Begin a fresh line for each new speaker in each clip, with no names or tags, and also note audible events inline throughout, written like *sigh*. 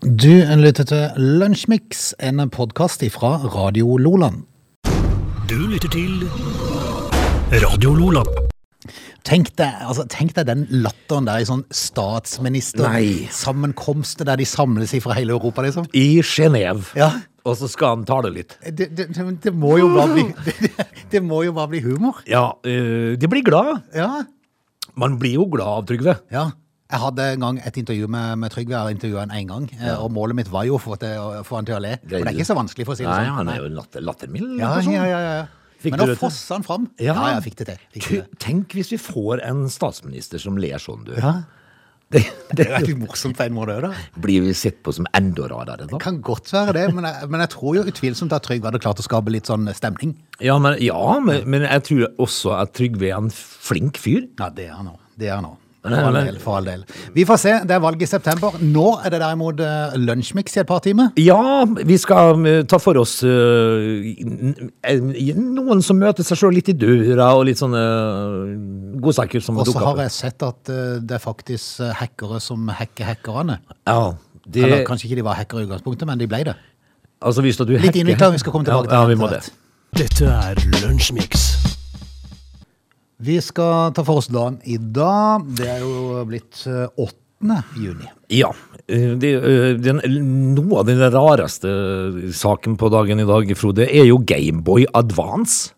Du lytter til Lunsjmix, en podkast fra Radio Loland.
Du lytter til Radio Lola.
Tenk deg, altså, tenk deg den latteren der i sånn
Nei.
statsminister-sammenkomster der de samles fra hele Europa, liksom.
I Genéve.
Ja.
Og så skal han tale litt.
Det, det, det, det må jo bare bli,
*laughs*
det, det må jo bare bli humor.
Ja, eh, de blir glad.
Ja.
Man blir jo glad av Trygve.
ja. Jeg hadde en gang et intervju med, med Trygve. Jeg intervjua han én gang. eh, Og målet mitt var jo å få, til, å få han til å le. For det er ikke så vanskelig, for å si det
Nei,
sånn.
han
Nei.
er jo latter, lattermild.
Ja,
og sånn.
ja, ja, ja.
Fikk
Men
du
da
det til?
fossa han fram.
Ja.
ja, jeg fikk det til. Fikk det. til.
Ku- Tenk hvis vi får en statsminister som ler sånn, du.
Ja.
Det, *laughs* det,
Det er litt morsomt på en måte òg, da.
blir vi sett på som enda rarere, da.
Kan godt være det, men jeg, men jeg tror jo utvilsomt at Trygve hadde klart å skape litt sånn stemning.
Ja, men, ja, men, men jeg tror også at Trygve er en flink fyr.
Ja, det er han òg. Det er han òg. For
Nei,
all
nei.
del, for all del. Vi får se. Det er valg i september. Nå er det derimot eh, lunsjmix i et par timer.
Ja, vi skal eh, ta for oss eh, n- eh, noen som møter seg sjøl litt i døra, og litt sånne eh, godsaker som
Og så
dukker
har
opp.
jeg sett at eh, det er faktisk eh, hackere som hacker hackerne.
Ja, det,
Eller kanskje ikke de var hackere i utgangspunktet, men de ble det.
altså hvis du
Litt innvikla, vi skal komme tilbake til
ja, ja,
det
vi må
etter
det.
hvert.
Dette er Lunsjmix.
Vi skal ta for oss dagen i dag. Det er jo blitt eh, 8. juni. *laughs*
Ja. eh, Det, eh, den, noe av den rareste saken på dagen i dag, Frode, er jo Gameboy Advance.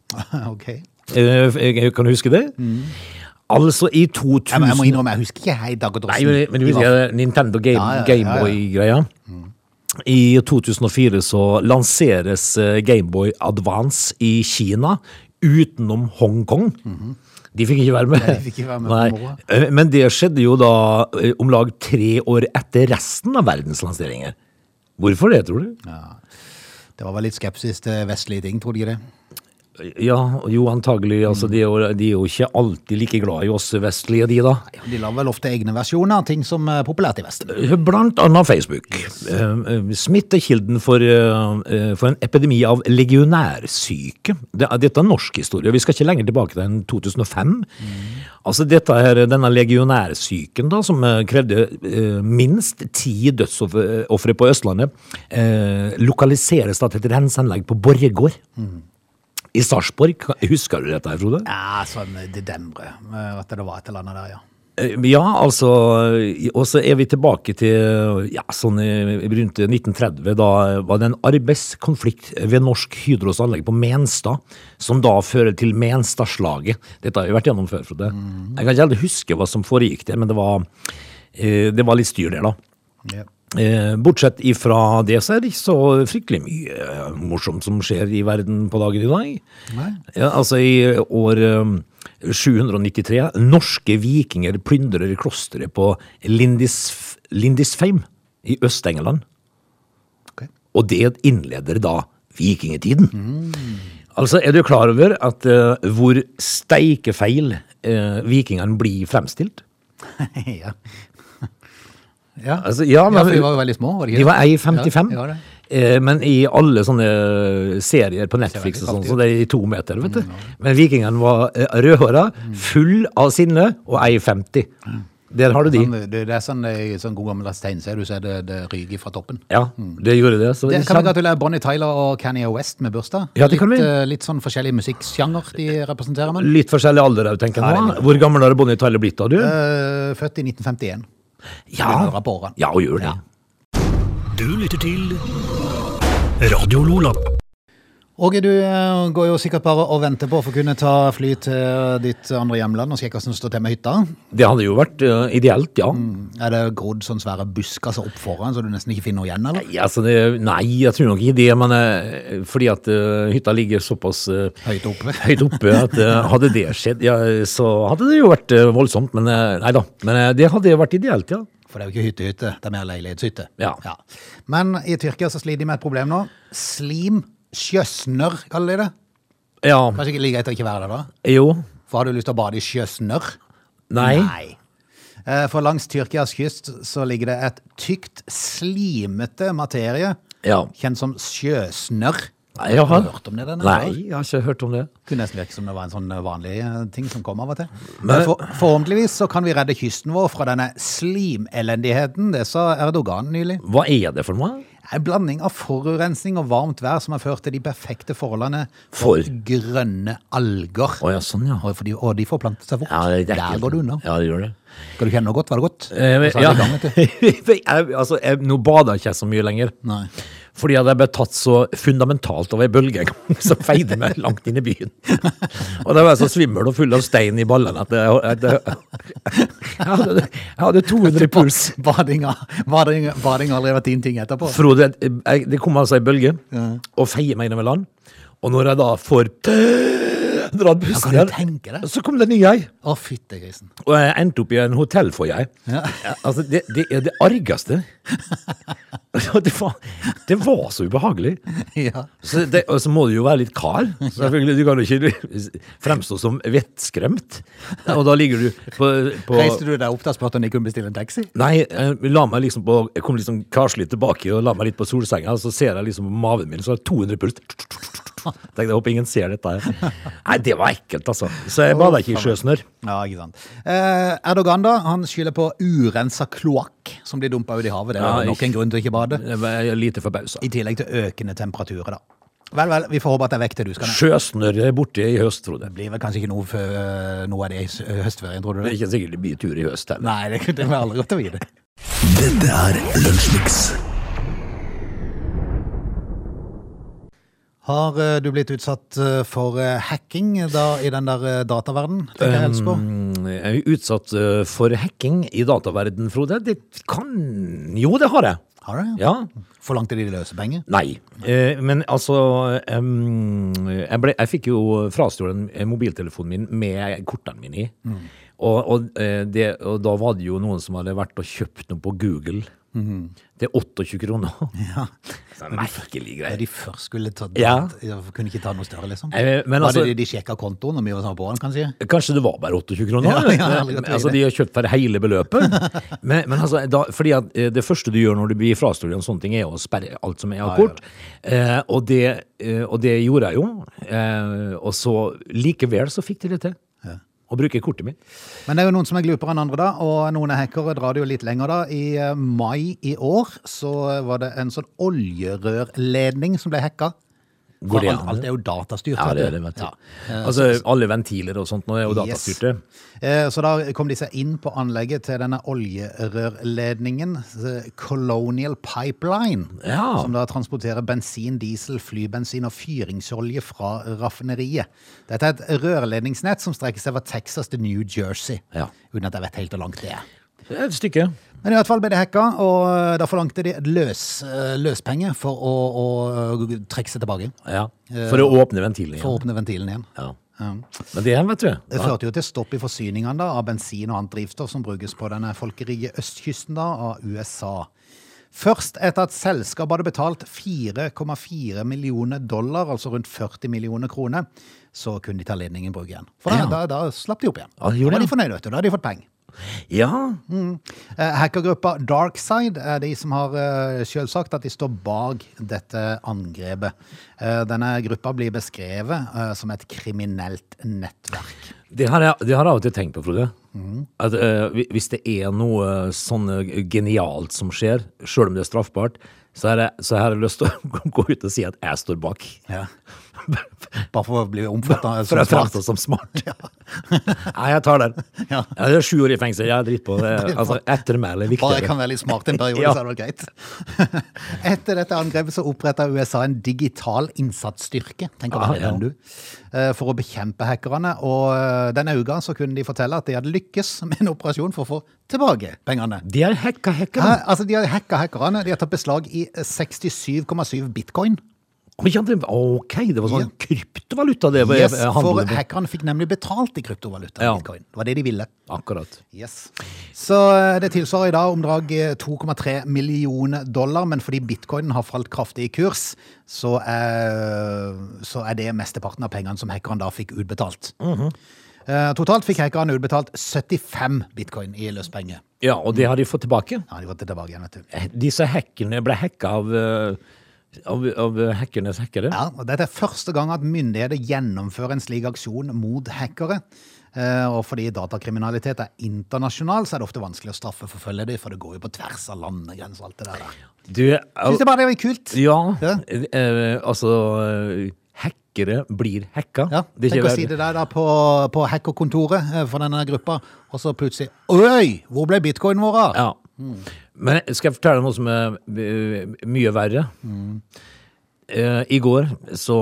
ok.
Eh, Jeg, jeg kan du huske det? Altså i
Mm. Jeg,
2000
må- jeg må innrømme, jeg husker ikke helt akkurat
Nei, men, men du
de var-
husker det, Nintendo Game-
Ja, ja, Mm. ja, ja.
Gameboy-greia? I 2004 så lanseres eh, Gameboy Advance i Kina utenom Hongkong. De fikk ikke være med.
Mhm. Nei, de fikk ikke være med på
Nei.
moroa.
Eh, Men det skjedde jo da eh, om lag tre år etter resten av verdens lanseringer. Hvorfor det, tror du?
Det var vel litt skepsis til vestlige ting, tror de ikke det?
Ja, jo antagelig. Altså, de, er jo, de er jo ikke alltid like glad i oss vestlige, de da.
De lager vel ofte egne versjoner av ting som er populært i Vesten.
Blant annet Facebook. Eh, eh, Smittekilden for, eh, eh, for en epidemi av legionærsyke. Det er- Dette er norsk historie. Vi skal ikke lenger tilbake til enn 2005. Altså dette her, Denne legionærsyken da, som eh, krevde eh, minst ti dødsofre på Østlandet, eh, lokaliseres da til et renseanlegg på Borregaard. I Sarpsborg. Husker du dette, her, Frode?
Ja, sånn det demre. At det var et eller annet der, ja.
Eh, Ja, altså eh, Og så er vi tilbake til ja, sånn eh, rundt 1930. Da var det en arbeidskonflikt ved Norsk Hydros anlegg på Menstad, som da fører til Menstadslaget. Dette har vi vært gjennom før, Frode. Jeg kan ikke helt huske hva som foregikk der, men det var, eh, det var litt styr der, da.
Ja.
Eh, Bortsett ifra det, så er det ikke så fryktelig mye eh, morsomt som skjer i verden på dagen i dag.
Nei.
Ja, altså i år eh, 793, norske vikinger plyndrer klosteret på Lindis, Lindisfeim i Øst-England.
Ok.
Og det innleder da vikingetiden.
Mm.
Altså, er du klar over at eh, hvor steikefeil eh, vikingene blir fremstilt?
*laughs* ja. *laughs* ja.
Altså, ja,
ja, for de var jo veldig små, var de
De
ikke?
var ei 55,
Ja, de var det.
eh, men i alle sånne serier på Netflix
Ser veldig Mm,
og sånn,
fattig
så det er i to meter, vet du. Men vikingene var eh, rødhåra,
Mm.
full av sinne og ei 50. Der har du de.
Sånn, det, det er sånn, eh, sånn god gammeldags tegneserie. Du ser det, det ryker fra toppen.
Ja, det gjorde det. Så
Mm. Det kan vi
kjem-
gratulere Bonnie Tyler og Kanye West med bursdag.
Ja, det kan
litt,
vi.
eh, litt sånn forskjellig musikksjanger de representerer, men
litt forskjellig alder, jeg tenker jeg nå. Hvor gammel har Bonnie Tyler blitt, da, du?
eh, født i 1951. begynner å rapportere.
ja, og gjør det.
Du lytter til Radio Lola.
Åge, du eh, går jo sikkert bare og venter på å få kunne ta fly til ditt andre hjemland og sjekke hvordan det står til med hytta.
Det hadde jo vært eh, ideelt, ja.
Er det grodd sånne svære buskaser opp foran, så du nesten ikke finner noe igjen, eller?
Nei, altså det, nei, jeg tror nok ikke det, men eh, fordi at eh, hytta ligger såpass eh,
Høyt oppe.
*laughs* høyt oppe at eh, hadde det skjedd, ja, så hadde det jo vært eh, voldsomt. Men eh, nei da. Men eh, det hadde vært ideelt, ja.
For det er jo ikke hyttehytte, det er mer leilighetshytte.
Ja.
Men i Tyrkia så sliter de med et problem nå. Slim sjøsnørr, kaller de det.
Ja.
Kanskje ikke like greit å ikke være der da?
Jo.
For har du lyst til å bade i sjøsnørr?
Nei.
Eh, For langs Tyrkias kyst så ligger det et tykt, slimete materie,
Ja.
kjent som sjøsnørr.
Nei, jeg
Har
har,
du hørt om det? Denne?
nei, jeg har ikke hørt om det.
Kunne nesten virke som det var en sånn vanlig eh, ting som kom av og til.
Men-
Men for, forhåpentligvis så kan vi redde kysten vår fra denne slimelendigheten. Det sa Erdogan nylig.
Hva er det for noe?
En blanding av forurensning og varmt vær som har ført til de perfekte forholdene
For?
grønne alger.
Å ja, sånn, ja.
Og, for de, og de får plante seg fort.
ja det er
Der
ekkelt.
går du unna.
Ja, det gjør det.
Skal du kjenne noe godt, var det godt?
Eh,
Og så er
ja.
det i gang, vet du.
*laughs* jeg, altså, jeg, nå bader jeg ikke så mye lenger.
Nei.
Fordi jeg hadde blitt tatt så fundamentalt av ei bølge en gang, *laughs* som feide meg langt inn i byen. *laughs* Og da var jeg så svimmel og full av stein i ballene at jeg, at jeg, jeg, hadde, jeg hadde 200 i puls.
Badinga, badinga, badinga har aldri vært din ting etterpå.
Frode, jeg, det kom altså ei bølge og feier meg innover land. Og når jeg da får
kan
dratt pusten
du
her,
tenke deg?
så kom det en ny ei.
Å, fytte grisen.
Og jeg endte opp i en hotellfoyer.
Ja.
Ja, Altså, det, det er det argeste. *laughs* Altså, Det var, det var så ubehagelig.
*laughs* Ja.
Så det, og så må du jo være litt kar. Selvfølgelig, Du kan jo ikke fremstå som vettskremt. Og da ligger du på, på
Reiste du deg opp da og spurte om de kunne bestille en taxi?
Nei, jeg, la meg liksom på, jeg kom liksom karslig tilbake og la meg litt på solsenga, og så ser jeg liksom på maven min, så har jeg 200 puls. *laughs* Tenkte, jeg håper ingen ser dette her. Nei, det var ekkelt, altså. Så jeg bada ikke i sjøsnørr.
Ja, ikke sant. Eh, Erdogan da, han skylder på urensa kloakk som blir dumpa ut i havet. Det
Ja,
er nok
ikke-
en grunn til å ikke bade.
Jeg var lite forbausa.
I tillegg til økende temperaturer, da. Vel, vel, vi får håpe at det er vekk til du skal ned.
Sjøsnørr er borte i høst, Frode.
Det blir vel kanskje ikke noe, før, eh, noe av det i s- høstferien, tror du
Det
det?
er ikke sikkert det blir tur i høst heller.
Nei, det, det var aldri godt å vite.
Dette er Lunsjmix.
Har eh, du blitt utsatt eh, for eh, hacking da, i den der eh, dataverden? tenker jeg helst på?
Mm, Jeg er jo utsatt eh, for hacking i dataverden, Frode. Det kan Jo, det har jeg.
Har du?
Ja.
Forlangte de løsepenger?
Nei. Eh, men altså em, jeg, ble, jeg fikk jo frastjålet en- mobiltelefonen min med kortene mine i. Og, og, eh, det, og da var det jo noen som hadde vært og kjøpt noe på Google. Det er 28 kroner. Mm-hmm. Ja. *laughs* Merkelig
Da
greie.
de først skulle ta
Ja.
Kunne ikke ta noe større, liksom?
Eh, men
var
altså-
det de, de sjekka kontoen og mye var sånn på den, kanskje?
Kanskje det var bare 28 kroner?
Ja, ja, jeg kan tro
altså,
det.
de har kjøpt for hele beløpet.
*laughs*
men, men altså, da, fordi at eh, det første du gjør når du blir frastjålet en sånn ting, er å sperre alt som er av
Ja, ja,
kort. Eh, og, det, eh, og det gjorde jeg jo. Eh, og så likevel så fikk de det til. Å bruke kortet mitt.
Men det er jo noen som er glupere enn andre, da. Og noen er hackere drar det jo litt lenger, da. I eh, mai i år så var det en sånn oljerørledning som ble hacka.
Går
For
det
alt,
an?
alt er jo datastyrt.
Ja,
vet
det er
du.
det, vet du.
Ja. sånn-
Altså, alle ventiler og sånt nå er jo
Yes.
datastyrte.
Eh, Så da kom de seg inn på anlegget til denne oljerørledningen, eh, Colonial Pipeline,
Ja.
som da transporterer bensin, diesel, flybensin og fyringsolje fra raffineriet. Dette er et rørledningsnett som strekker seg fra Texas til New Jersey,
Ja.
uten at jeg vet helt hvor langt det er.
Det er Et stykke.
Men i hvert fall ble det hacka, og eh, da forlangte de et løs, eh, løspenger for å, å eh, trekke seg tilbake,
Ja. For å åpne ventilen
for å
igjen.
åpne ventilen igjen.
Ja.
Ja.
Men det er, vet du.
Det førte jo til stopp i forsyningene da, av bensin og annet drivstoff som brukes på denne folkerige østkysten da, av USA. Først etter at selskapet hadde betalt 4,4 millioner dollar, altså rundt 40 millioner kroner, så kunne de ta ledningen i bruk igjen. For da,
Ja.
da, da slapp de opp igjen.
Ja, de gjorde
da var
det.
de fornøyde, vet du. Da hadde de fått penger.
Ja.
Eh, Hackergruppa Darkside er de som har eh, selv sagt at de står bak dette angrepet. Eh, Denne gruppa blir beskrevet eh, som et kriminelt nettverk.
Det har, jeg, det har jeg av og til tenkt på, Frode.
Mhm.
At eh, hvi- Hvis det er noe sånn eh, genialt som skjer, sjøl om det er straffbart, så har jeg, så har jeg lyst til å *laughs* gå ut og si at jeg står bak.
Ja. *laughs* Bare for å bli omfattet sånn som
For jeg
smart.
fremstår som smart. *laughs* Nei, jeg tar den.
Ja.
Ja, det er sju år i fengsel, jeg er dritt
*laughs*
på. Det, altså,
Bare
ettermæle er
jeg
viktigere.
kan være litt smart en periode,
Ja.
så er det vel greit. *laughs* Etter dette angrepet så oppretta USA en digital innsatsstyrke, tenk å
Ah,
være
ja.
den du, eh, for å bekjempe hackerne. Og eh, denne uka så kunne de fortelle at de hadde lykkes med en operasjon for å få tilbake pengene.
De er hekka hekka.
Hæ? altså, de har hacka hackerne. De har tatt beslag i eh, 67,7 bitcoin.
Å, ja, det, ok, det var sånn
Ja.
kryptovaluta det var
Yes,
eh,
for
handelen med.
hackerne fikk nemlig betalt i kryptovaluta.
Ja.
bitcoin. Det var det de ville.
Akkurat.
Yes. Så eh, det tilsvarer i dag eh, omdrag 2,3 millioner dollar, men fordi bitcoinen har falt kraftig i kurs, så er, så er det mesteparten av pengene som hackeren da fikk utbetalt. Eh, Totalt fikk hackeren utbetalt 75 bitcoin i løspenger.
Ja, og det har de fått tilbake.
Ja, de var tilbake igjen, vet du.
Disse hackerne ble hacka av eh, Av, av hackernes hackere?
Ja, og Dette er første gang at myndigheter gjennomfører en slik aksjon mot hackere. Eh, Og fordi datakriminalitet er internasjonal, så er det ofte vanskelig å straffeforfølge det, for det går jo på tvers av landegrenser og alt det der. da.
Du, eh, al-
Syns jeg bare det var kult.
ja,
Ja.
eh, altså eh, Hackere blir hacka.
Ja,
Det
Tenk
er ikke
å si
verre.
det der da på, på hackerkontoret eh, for denne gruppa, og så plutselig Oi, hvor ble bitcoinen vår av?
Ja. Men skal jeg fortelle noe som er eh, mye verre?
Mm.
Eh, I går så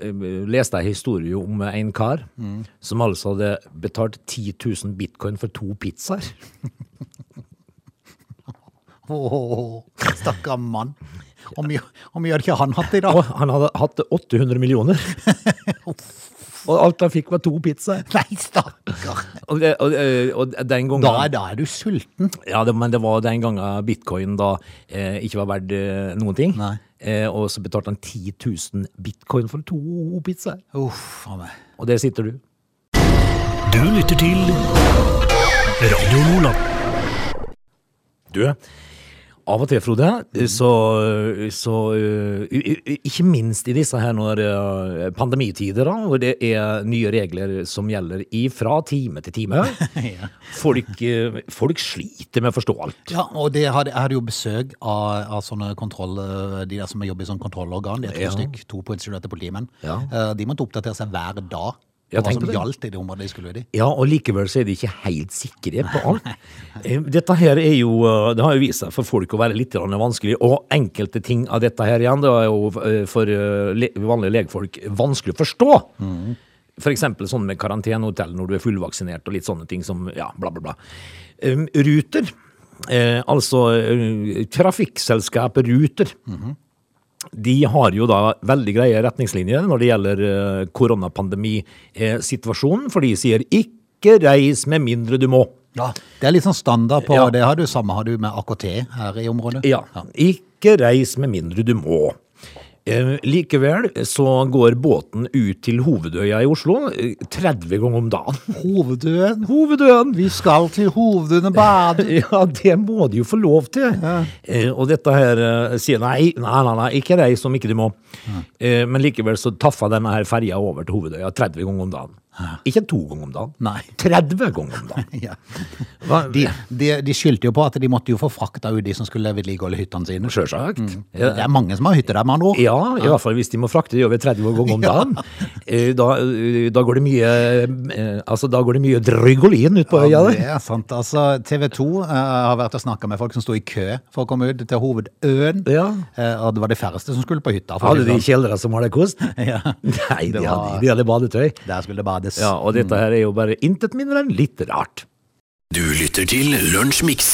eh, leste jeg historie om en kar
Mm.
som altså hadde betalt 10 000 bitcoin for to pizzaer.
Åh, Stakkar mann. Om gjør om gjør ikke han hatt det i dag?
Og han hadde hatt 800
*laughs*
millioner. og alt han fikk var to pizzaer.
Nei, stakkar.
Og, det- og, det- og den gangen
Da, er- da er du sulten.
Ja, det, men det var den gangen bitcoin da eh, ikke var verdt eh, noen ting.
Nei.
Eh, og så betalte han 10 000 bitcoin for to pizzaer.
Uff a meg.
Og der sitter du.
Du lytter til Radio Lola.
Du, av og til, Frode, så, så øh, i- i- Ikke minst i disse her når øh, pandemitider, da, hvor det er nye regler som gjelder ifra time til time. Folk, øh, folk sliter med å forstå alt.
Ja, og det hadde, jeg hadde jo besøk av, av sånne kontroll, de der som jobber i sånn kontrollorgan. De er to
Ja.
stykk, to på instituttet politimenn.
Ja.
Eh, De måtte oppdatere seg hver dag.
Ja,
på hva
tenk
som
på det.
gjaldt i det området de skulle ut i.
Ja, og likevel så er de ikke helt sikre på alt. Eh, Dette her er jo, eh, det har jo vist seg for folk å være litt grann vanskelig, og enkelte ting av dette her igjen, det er jo eh, for eh, le- vanlige legfolk vanskelig å forstå. For eksempel sånn med karantenehotell når du er fullvaksinert og litt sånne ting som, ja, bla bla bla. Um, Ruter, eh, altså eh, trafikkselskapet Ruter, de har jo da veldig greie retningslinjer når det gjelder eh, koronapandemi-situasjonen, for de sier ikke reis med mindre du må.
Ja, Det er litt sånn standard på
Ja.
Det har du samme har du med AKT her i området.
Ja, ikke reis med mindre du må. Eh, likevel så går båten ut til Hovedøya i Oslo eh, 30 ganger om dagen.
Hovedøen.
Hovedøyen!
Vi skal til Hovedøen og bade.
*laughs* Ja, det må de jo få lov til. Eh, og dette her eh, sier nei, nei, nei, nei ikke reis om ikke du må. Eh, men likevel så taffa denne her ferja over til Hovedøya 30 ganger om dagen. Ikke to ganger om dagen.
Nei.
30 ganger om
*laughs*
dagen.
Ja.
Hva,
De, de, de skyldte jo på at de måtte jo få frakta ut de som skulle vedlikeholde hyttene sine.
Sjølsagt.
Mm.
Ja,
Det er mange som har hytte der, med andre ord.
ja, i hvert fall hvis de må frakte det over 30 ganger
*laughs*
om dagen. Eh, Da, eh, da går det mye eh, Altså, da går det mye drygolin ut på øya
Ja,
der.
det er sant. Altså, TV 2 har vært og snakka med folk som sto i kø for å komme ut til hovedøen.
Ja.
Eh, og det var de færreste som skulle på hytta. for å si
Hadde
det
de
sånn.
kjeldre som hadde kost? *laughs*
*laughs* Ja.
Nei,
Det
de hadde,
var-
de hadde badetøy.
Der skulle det bades.
Ja, og dette her er jo bare intet mindre enn litt rart.
Du lytter til Lunsjmix.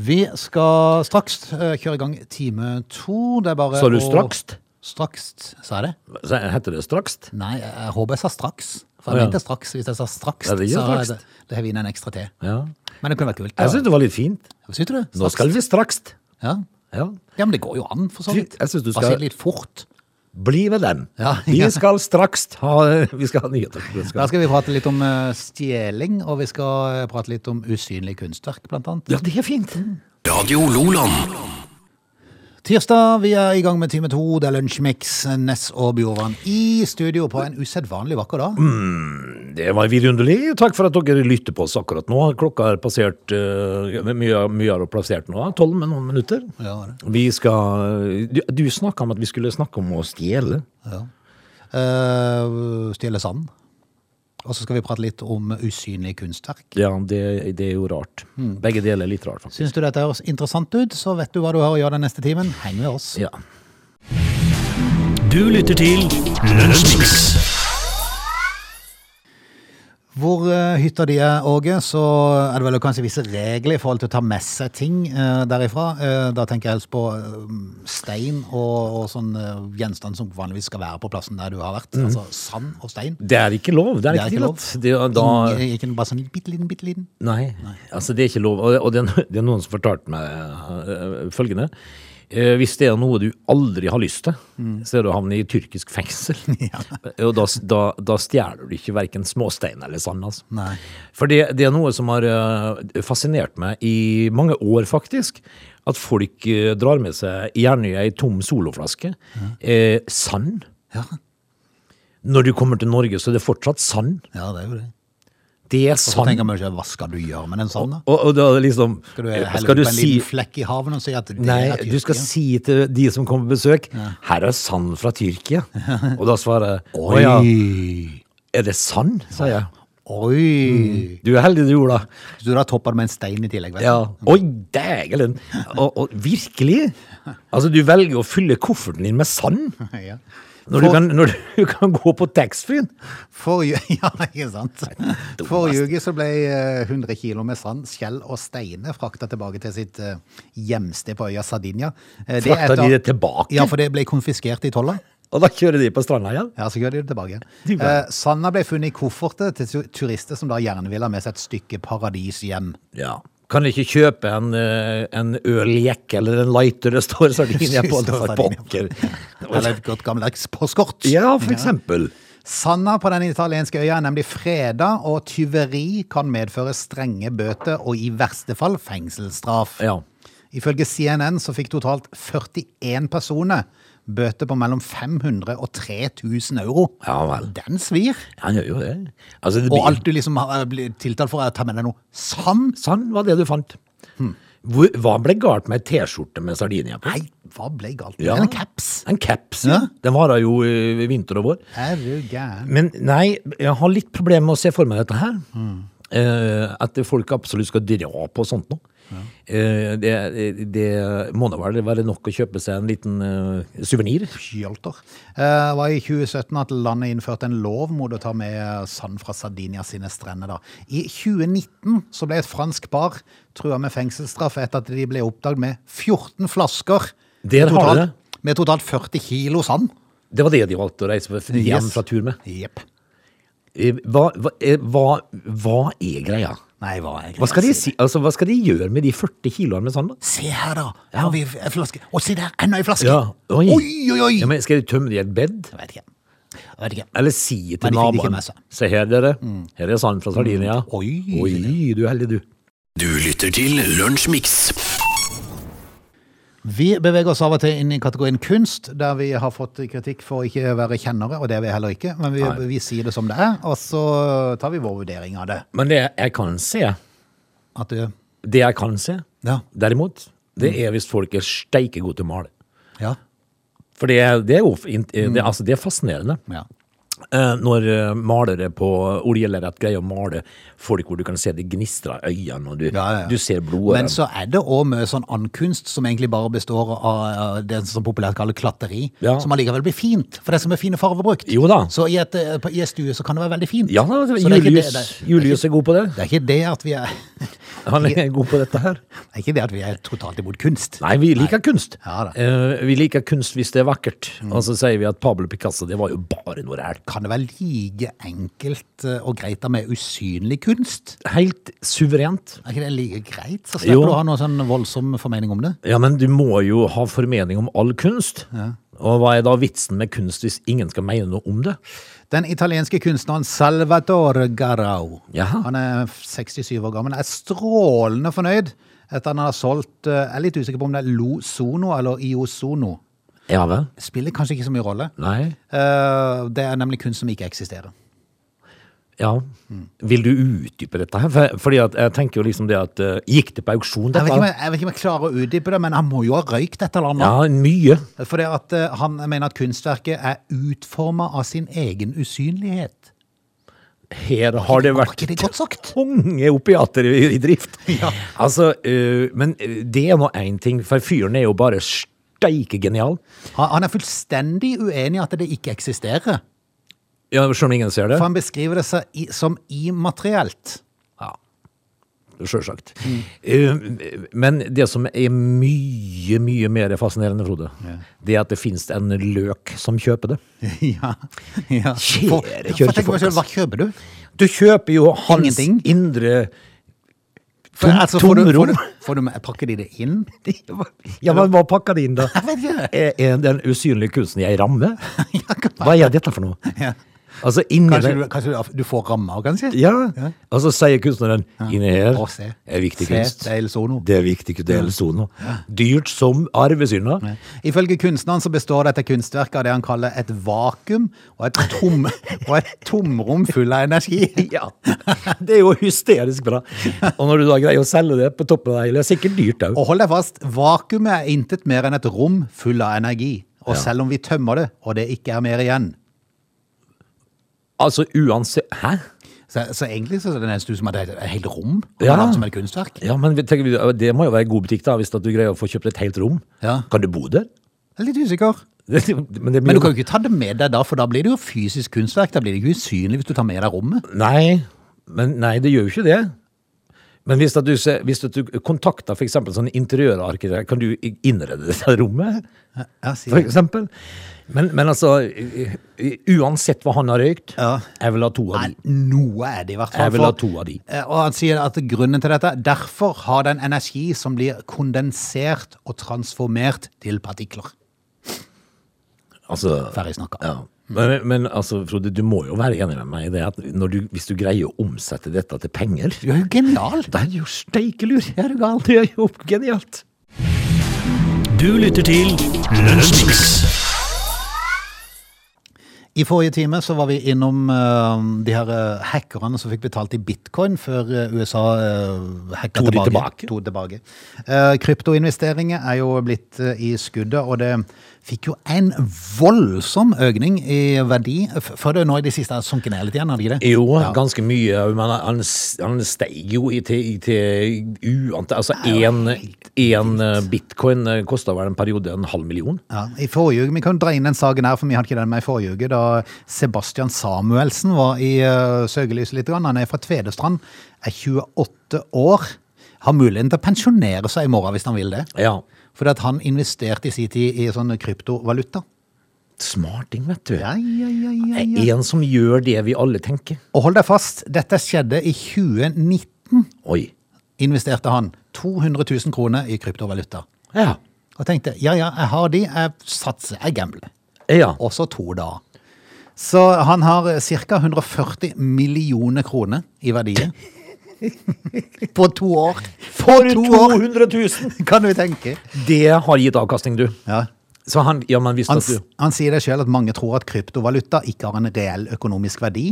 Vi skal straks eh, kjøre i gang time to. Det er bare
Sa du
å-
straks?
Straks, sa jeg det?
Så Heter det straks?
Nei, jeg, jeg håper jeg sa straks. For
Å,
jeg
ja.
mente straks. Hvis jeg sa straks,
Ja, det gjør
så er
straks.
det, det hever inn en ekstra T.
Ja.
Men det kunne vært kult.
Jeg syns det var litt fint.
Syns du det?
Nå skal vi straks.
Ja.
Ja.
ja, men det går jo an, for så
Du,
vidt.
jeg synes du
Bare
skal-
si det litt fort.
Bli ved den.
Ja.
Vi skal straks ha *laughs* Vi skal ha nyheter. Vi skal-
Da skal vi prate litt om eh, stjeling, og vi skal eh, prate litt om usynlig kunstverk, blant annet.
Ja, det er fint.
Radio Loland.
Tirsdag, vi er i gang med time to. Det er Lunsjmix, Ness og Bjorvann i studio på en usedvanlig vakker dag.
Mm. Det var vidunderlig. Takk for at dere lytter på oss akkurat nå. Klokka er passert eh, Mye, mye har passert nå. Tolv med noen minutter.
Ja, det.
Vi skal Du, du snakka om at vi skulle snakke om å stjele.
Eh, stjele sand. Og så skal vi prate litt om usynlig kunstverk.
Ja, det, det er jo rart.
Mm.
Begge deler er litt rart, faktisk.
Syns du dette høres interessant ut, så vet du hva du har å gjøre den neste timen. Heng med oss.
Ja.
Du lytter til Lunsjmix.
Hvor eh, hytta de er, Åge, så er det vel kanskje visse regler i forhold til å ta med seg ting eh, derifra. Eh, da tenker jeg helst på eh, stein og, og sånn eh, gjenstand som vanligvis skal være på plassen der du har vært. Altså sand og stein.
Mm. Det er ikke lov. Det er, ikke,
lov.
tillatt. Det er da,
Ingen- Ikke bare sånn bitte liten, bitte liten.
nei, altså det er ikke lov. Og, og det, er, no- det er noen som fortalte meg øh, følgende. Eh, hvis det er noe du aldri har lyst til, så er det å havne i tyrkisk fengsel. Eh, Og da, da, da stjeler du ikke verken småstein eller sand, altså.
Nei.
For det, det er noe som har eh, fascinert meg i mange år, faktisk. At folk eh, drar med seg gjerne ei tom soloflaske. Eh, sand.
Ja.
Når du kommer til Norge, så er det fortsatt sand.
ja, det er jo det.
Det er
Så
sand.
tenker man ikke hva skal du gjøre med den sanda?
Og, og da liksom
Skal du
eh,
helle
Skal
ut
du
en
si
liten flekk i haven og si at det
Nei,
er
du skal
Tyrkia?
si til de som kommer på besøk 'Her er sand fra
*laughs*
Tyrkia'. Og da svarer jeg 'Å ja,
Oi!
er det sand?' sa jeg.
Oi!
Du er heldig du gjorde det.
Så du har toppa det med en stein i tillegg, vet du.
Mm. Ja. Oi, dægelen! Og, og virkelig! Altså, du velger å fylle kofferten din med sand
*laughs* Ja.
når du kan, når du *laughs* kan gå på taxfree-en.
Forrige, *laughs* ja, ikke sant?
dummest.
Forrige uke så ble eh, 100 kilo med sand, skjell og steiner frakta tilbake til sitt eh, hjemsted på øya Sardinia. Eh, det er
Frakta de
etter-
det tilbake?
Ja, for det ble konfiskert i tolla.
Og da kjører de på stranda igjen?
Ja, så gjør de det tilbake igjen.
De bare-
Eh, sanda ble funnet i kofferter til tu- turister som da gjerne vil ha med seg et stykke paradis hjem.
Ja. Kan ikke kjøpe en, eh, en øljekk eller en lighter det står sardinia
*laughs*
på. Det
Står
var
Sardinia
pokker.
Eller et godt gammeldags postkort.
Ja, for eksempel.
Sanda på den italienske øya er nemlig freda, og tyveri kan medføre strenge bøter og i verste fall fengselsstraff.
Ja.
Ifølge CNN så fikk totalt 41 personer bøter på mellom 500 og 3000 euro.
Ja vel.
Den svir.
Han gjør jo det. Altså, det blir...
Og alt du liksom har eh, blitt tiltalt for, er å ta med deg noe sand.
Sand var det du fant. Hmm. Hvor, hva ble galt med ei T-skjorte med sardinia på?
Nei, hva ble galt med
Ja.
den caps?
En caps, ja.
Ja.
Den varer jo i vinter og vår.
Herre gæren.
Men nei, jeg har litt problemer med å se for meg dette her. Eh, at folk absolutt skal dra på sånt nå. Eh, det, det må da vel være nok å kjøpe seg en liten eh, suvenir.
Pjolter. Eh, Det var i 2017 at landet innførte en lov mot å ta med sand fra Sardinia sine strender. Da. I 2019 så ble et fransk par trua med fengselsstraff etter at de ble oppdaget med 14 flasker
Der
med
har du
totalt, med totalt 40 kilo sand.
Det var det de valgte å reise for- hjem
Yes.
fra tur med.
Jepp.
Eh, Hva, hva, eh, hva, hva er greia?
Nei, hva er
Hva skal, de si, altså, hva skal de gjøre med de 40 kiloene med sand? da?
Se her, da! Her har vi en flaske. Og se der, enda en flaske!
Ja, oi.
oi, oi! oi.
Ja, men skal de tømme det i et bed?
Jeg vet ikke. Jeg vet ikke.
Eller si til
Men de fikk det ikke
naboen
med seg.
Se her, dere. Her er sand fra Sardinia.
Oi.
Mm. Oi, du er heldig, du.
Du lytter til Lunsjmix.
Vi beveger oss av og til inn i kategorien kunst, der vi har fått kritikk for å ikke være kjennere, og det er vi heller ikke. Men vi,
Nei.
vi sier det som det er, og så tar vi vår vurdering av det.
Men det jeg kan se,
At eh, du
det jeg kan se,
Ja.
derimot, det er hvis folk er steike gode til å male.
Ja.
For det, er- det er jo fint- det, altså, det er fascinerende.
ja.
Eh, Når eh, malere på oljelerret greier å male folk hvor du kan se det gnistrer i øynene, og du,
Ja, ja, ja.
du ser
Men
blodårene.
så er det òg mye sånn andkunst som egentlig bare består av eh, det som populært kalles klatteri,
Ja.
som allikevel blir fint, for det som er fine farger brukt.
Jo da.
Så i, et, eh, på- i en stue så kan det være veldig fint.
Ja,
Så det er ikke det-
Julius,
det-
Julius er god på det.
Det er ikke det at vi er *laughs*
Han er god på dette her.
Det er ikke det at vi er totalt imot kunst.
Nei, vi liker kunst.
Ja da. Mm.
Eh, vi liker kunst hvis det er vakkert. Og så sier vi at Pablo Picasso det var jo bare noe ræl.
Kan det være like enkelt eh, og greit da med usynlig kunst?
Helt suverent.
Er ikke det like greit? Så
Jo.
slipper du å ha noen sånn voldsom formening om det.
Ja, men du må jo ha formening om all kunst. Og hva er da vitsen med kunst hvis ingen skal mene noe om det?
Den italienske kunstneren Salvatore Garau,
Jaha.
han er 67 år gammel, er strålende fornøyd etter han har solgt, eh, jeg er litt usikker på om det er Lozono eller Iozono.
Ja vel?
Spiller kanskje ikke så mye rolle.
Nei?
Eh, Det er nemlig kunst som ikke eksisterer.
Ja.
Mm.
Vil du utdype dette her? For, fordi at jeg tenker jo liksom det at eh, Gikk det på auksjon,
Jeg
dette?
vet ikke om jeg, jeg, vet ikke om jeg klarer å utdype det, men han må jo ha røykt et eller annet.
ja, mye.
For det at eh, han mener at kunstverket er utforma av sin egen usynlighet.
Her har det
Var
vært
ikke det godt sagt?
tunge opiater i, i drift.
*laughs* Ja.
Altså, eh, men eh, det er nå én ting, for fyren er jo bare steike genial.
Han, han er fullstendig uenig i at det ikke eksisterer.
Ja, Selv om ingen ser det?
For han beskriver det seg i, som
*laughs*
immaterielt.
Ja, Sjølsagt.
Mm.
Eh, Men det som er mye, mye mer fascinerende, Frode, det er at det finnes en løk som kjøper det.
ja. ja.
Kjære
For, ja, for tenk på
kirkefolk,
selv, hva kjøper du?
Du kjøper jo hans
Ingenting.
indre
For,
Tom-
altså, får, du, får,
tomrom.
du, får du med- Pakker de det inn?
*laughs* Ja, men hva pakka det inn,
*laughs*
da?
vet ikke.
Er er den usynlige kunsten jeg rammer?
*laughs* Ja, kan-
Hva er dette for noe?
ja.
Altså, inni
Kanskje,
den
du, kanskje du, du får rammer, kanskje?
ja. altså sier kunstneren inni her
Å, se.
er viktig
Se,
kunst.
det er El Sono.
Det er viktig, det er El Sono. Dyrt som arvesynder.
Ifølge kunstneren så består dette kunstverket av det han kaller et vakuum og et, tom, *laughs* og et tomrom full av energi.
Ja, *laughs* det er jo hysterisk bra. Og når du da greier å selge det på toppen av det hele, det er sikkert dyrt òg.
Og hold deg fast, vakuumet er intet mer enn et rom full av energi. Og
Ja.
selv om vi tømmer det, og det ikke er mer igjen,
Altså uansett Hæ?
så, så egentlig så er det nesten ut som at det er et helt rom
Ja.
ja. som et kunstverk.
Ja, men vi tenker- det må jo være god butikk, da, hvis at du greier å få kjøpt et helt rom.
Ja.
Kan du bo der? *laughs*
Jeg er litt usikker.
Men, det
Men du
blir jo-
kan jo ikke ta det med deg da, for da blir det jo fysisk kunstverk. Da blir det ikke usynlig hvis du tar med deg rommet.
Nei, men nei, det gjør jo ikke det. Men hvis, at du, ser- hvis at du kontakter for eksempel sånn interiørarkitekt, kan du innrede dette rommet,
Ja, sier
for
jeg.
eksempel? Men, men altså, u- u- uansett hva han har røykt,
Ja.
jeg vil ha to av
Nei,
de.
noe er det i hvert fall.
Jeg vil ha
for-
to av de.
Eh, Og han sier at grunnen til dette, derfor har den energi som blir kondensert og transformert til partikler.
Altså,
Ferdig snakka.
ja. Men, men altså, Frode, du må jo være enig med meg i det at når du, hvis du greier å omsette dette til penger,
Du er jo genial!
det er jo steikelur.
Er du gal?
Det er jo genialt.
Du lytter til Lunsjmix.
I forrige time så var vi innom eh, de her eh, hackerne som fikk betalt i bitcoin før eh, USA uh, hacka
Tok de
tilbake.
tilbake.
Tok tilbake. Eh, kryptoinvesteringer er jo blitt eh, i skuddet, og det fikk jo en voldsom økning i verdi. F- Før det nå i det siste har sunket ned litt igjen, har de ikke det?
Jo, ganske mye. Men han, han steig jo i til, i til uante Altså én bitcoin kosta vel en periode en halv million.
Ja, i forrige uke, Vi kan dra inn den saken her, for vi hadde ikke den med i forrige uke. Da Sebastian Samuelsen var i uh, søkelyset litt. grann. Han er fra Tvedestrand, er 28 år. Har muligheten til å pensjonere seg i morgen hvis han vil det.
Ja.
Fordi at han investerte i sin tid i sånn kryptovaluta.
Smarting, vet du.
Ja, ja, ja, ja, ja.
En som gjør det vi alle tenker.
Og hold deg fast, dette skjedde i 2019.
Oi.
Investerte han 200 000 kroner i kryptovaluta.
Ja.
Og tenkte ja, ja, jeg har de, jeg satser, jeg gambler.
Ja.
og så to da. Så han har ca. 140 millioner kroner i verdier. På to år. På
For
to
200 000!
kan du tenke.
Det har gitt avkastning, du.
Ja.
Så han, ja, men visste
Han,
at du
han sier det sjøl at mange tror at kryptovaluta ikke har en reell økonomisk verdi.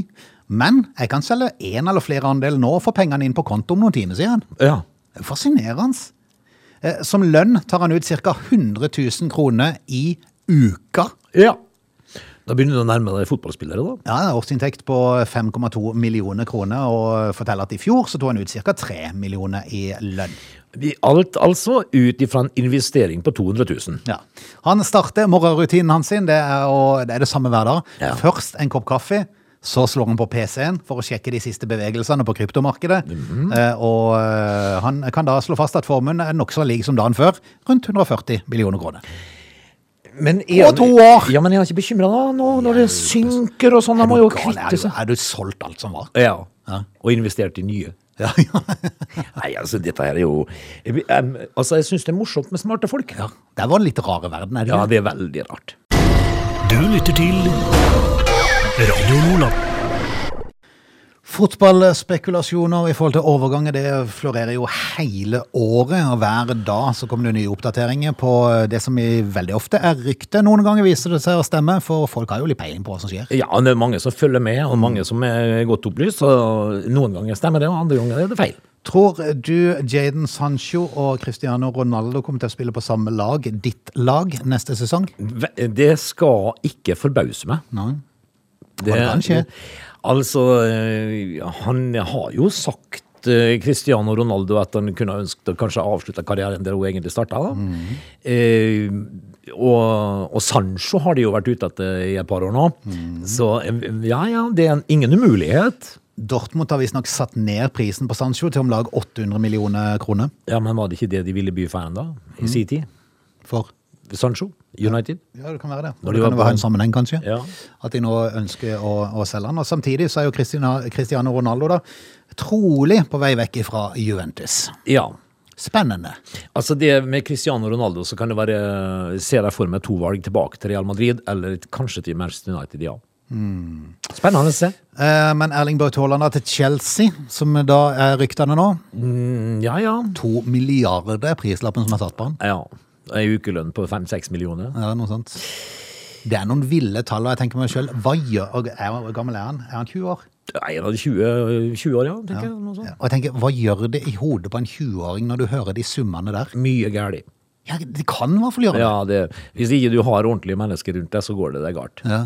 Men jeg kan selge én eller flere andeler nå og få pengene inn på konto om noen timer, sier han.
Ja.
Fascinerende. Eh, Som lønn tar han ut ca. 100 000 kroner i uka.
ja. Da begynner du å nærme deg fotballspillere, da.
Ja, årsinntekt på 5,2 millioner kroner, og forteller at i fjor så tog han ut ca. 3 millioner i lønn.
Vi- Alt altså ut ifra en investering på 200 000.
Ja. Han starter morgenrutinen hans sin, det er, å, det er det samme hver dag.
Ja.
Først en kopp kaffe, så slår han på PC-en for å sjekke de siste bevegelsene på kryptomarkedet.
Mhm.
eh, og eh, han kan da slå fast at formuen er nokså lik som dagen før, rundt 140 millioner kroner.
Men er,
Og to år!
Ja, men er han ikke bekymra da, nå, når det synker og sånn? Han må jo
Gal, er,
kvitte
du,
seg.
er du solgt alt som var? *laughs*
Ja. Og investert i nye.
Ja, ja.
Nei, altså, dette her er jo jeg, em, Altså, jeg syns det er morsomt med smarte folk. Ja.
Det var en litt rare verden, er det ikke?
det er veldig rart.
Du lytter til Radio Lola.
Fotballspekulasjoner i forhold til overganger det florerer jo hele året. og Hver dag så kommer det nye oppdateringer på eh, det som i veldig ofte er rykte. Noen ganger viser det seg å stemme, for folk har jo litt peiling på hva som skjer.
Ja, det er mange som følger med, og mange som er godt opplyst. Og noen ganger stemmer det, og andre ganger er det feil.
Tror du Jaden Sancho og Cristiano Ronaldo kommer til å spille på samme lag, ditt lag, neste sesong?
Ve- Det skal ikke forbause meg.
Nei. det kan skje.
Altså, eh, han har jo sagt eh, Cristiano Ronaldo at han kunne ønsket å kanskje avslutte karrieren der hun egentlig starta. da. Eh, og, og Sancho har de jo vært ute etter i et par år nå. Så eh, ja, ja, det er en- ingen umulighet.
Dortmund har visstnok satt ned prisen på Sancho til om lag 800 millioner kroner
Mm. Ja, Men var det ikke det de ville by for ennå, i sin tid?
for
Sancho, United.
Ja, det kan være det.
Når
det
de
kan
var
jo
på-
ha en sammenheng, kanskje.
Ja.
At de nå ønsker å, å selge han. Og samtidig så er jo Christina, Cristiano Ronaldo da trolig på vei vekk fra Juventus.
Ja.
Spennende.
Altså det Med Cristiano Ronaldo så kan det være Se deg for meg to valg tilbake til Real Madrid, eller kanskje til Manchester United, ja. Spennende å se.
Eh, men Erling Braut Haaland da til Chelsea, som da er ryktene nå.
Mm, Ja, ja.
To milliarder er prislappen som er satt på han.
ja. Ei ukelønn på fem-seks millioner.
Ja, noe sånt. Det er noen ville tall, og jeg tenker meg sjøl Hva gjør er, Hvor gammel er han? Er han 20 år?
Nei, han hadde 20, 20 år, ja. tenker jeg, noe sånt.
Og jeg tenker, Hva gjør det i hodet på en 20-åring når du hører de summene der?
Mye galt.
Ja, Det kan i hvert fall gjøre det.
Ja, det, hvis ikke du har ordentlige mennesker rundt deg, så går det deg galt.
Ja.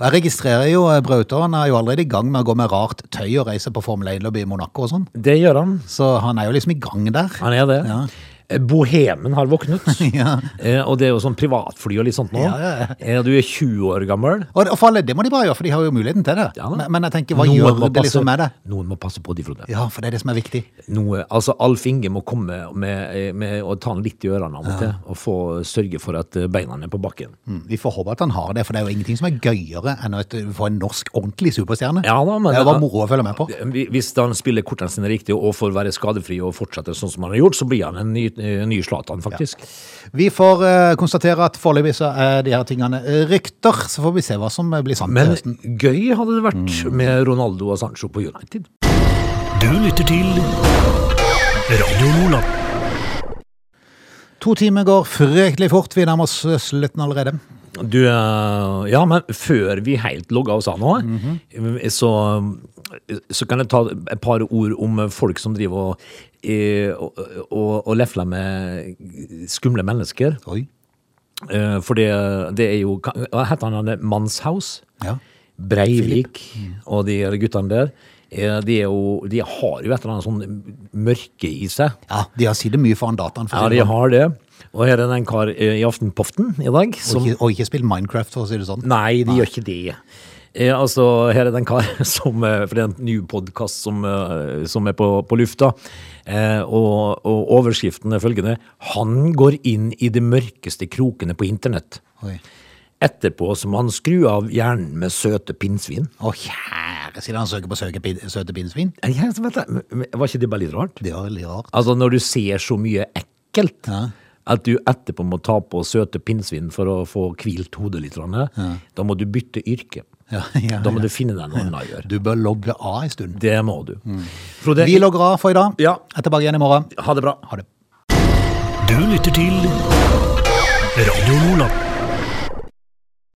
Og jeg registrerer jo eh, Brautå, han er jo allerede i gang med å gå med rart tøy og reise på Formel 1-løp i Monaco og sånn.
Det gjør han.
Så han er jo liksom i gang der.
Han er det.
Ja.
Eh, Bohemen har våknet.
*laughs* Ja.
Eh, Og det er jo sånn privatfly og litt sånt nå.
Ja, ja, ja.
Eh, Du er 20 år gammel.
Og, og for alle, det må de bare gjøre, for de har jo muligheten til det.
Ja da.
men, men jeg tenker, hva
Noen
gjør
må
det liksom
passe-
med det?
Noen må passe på de, Frode.
Ja, for det er det som er viktig.
Noe, altså, Alf Inge må komme med, eh, med å ta han litt i ørene av og til, og få sørge for at eh, beina er på bakken.
Mm, Vi får håpe at han har det, for det er jo ingenting som er gøyere enn å få en norsk ordentlig superstjerne.
Ja da, men-
det er jo bare moro å følge med på.
Hvis han spiller kortene sine riktig og får være skadefri og fortsette sånn som han har gjort, så blir han en ny, eh, ny Zlatan, faktisk.
Vi får eh, konstatere at foreløpig så er de her tingene eh, rykter, så får vi se hva som eh, blir sant. til
Men
høsten.
gøy hadde det vært
Mm.
med Ronaldo og Sancho på United.
Du lytter til Radio Lola.
To timer går fryktelig fort. Vi nærmer oss eh, slutten allerede.
Du, eh, ja, men før vi helt logger oss av nå, eh, så, så kan jeg ta et par ord om folk som driver og, eh, og, og, og lefler med skumle mennesker.
Oi.
Eh, For det, det er jo Hva heter han? Mannshaus?
Ja.
Breivik Mm. og de guttene der. eh, De, er jo, de har jo et eller annet sånn mørke i seg.
ja, de har sittet mye foran dataen. For å
Ja,
si
de
det sånn.
har det. Og her er det en kar eh, i Aftenpoften i dag som
og, ikke, og ikke spilt Minecraft, for å si det sånn.
sånn- Nei, de gjør ikke det. Eh, altså, her er det en kar *laughs* som eh, For det er en ny podkast som, eh, som er på, på lufta. Eh, og, og overskriften er følgende Han går inn i de mørkeste krokene på internett.
Oi.
Etterpå så må han skru av hjernen med søte pinnsvin.
Å, kjære, siden han søker på søke pin, søte pinnsvin.
Eh, Jeg vet, det, men- men var ikke det bare litt rart?
Det var veldig rart. *laughs*
Altså, når du ser så mye ekkelt
Ja.
at du etterpå må ta på søte pinnsvin for å få hvilt hodet litt, grann, da må du bytte yrke.
Ja, ja,
Da må du finne deg noe annet å gjøre.
Du bør logge av en stund.
Det må du. Frode,
Vi logger av for i dag.
Ja.
Jeg er tilbake igjen i morgen.
ha det bra.
Ha det.
Du lytter til Radio Lola.